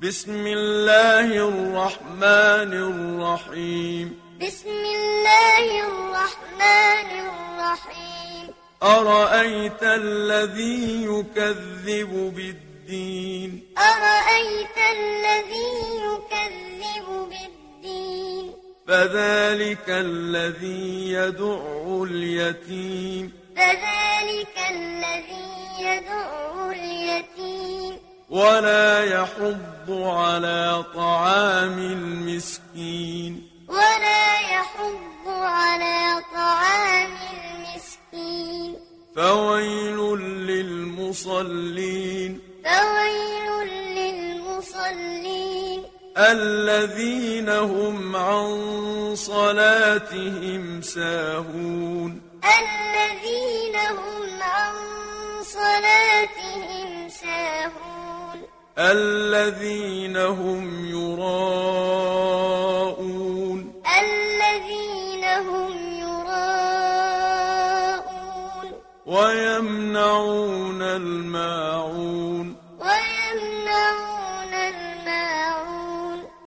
بسم الله الرحمن الرحيم بسم الله الرحمن الرحيم أرأيت الذي يكذب بالدين أرأيت الذي يكذب بالدين فذلك الذي يدع اليتيم فذلك الذي يدع اليتيم ولا يحض على طعام المسكين ولا يحض على طعام المسكين فويل للمصلين فويل للمصلين الذين هم عن صلاتهم ساهون الذين هم عن صلاتهم ساهون الذين هم يراءون الذين هم يراءون ويمنعون الماعون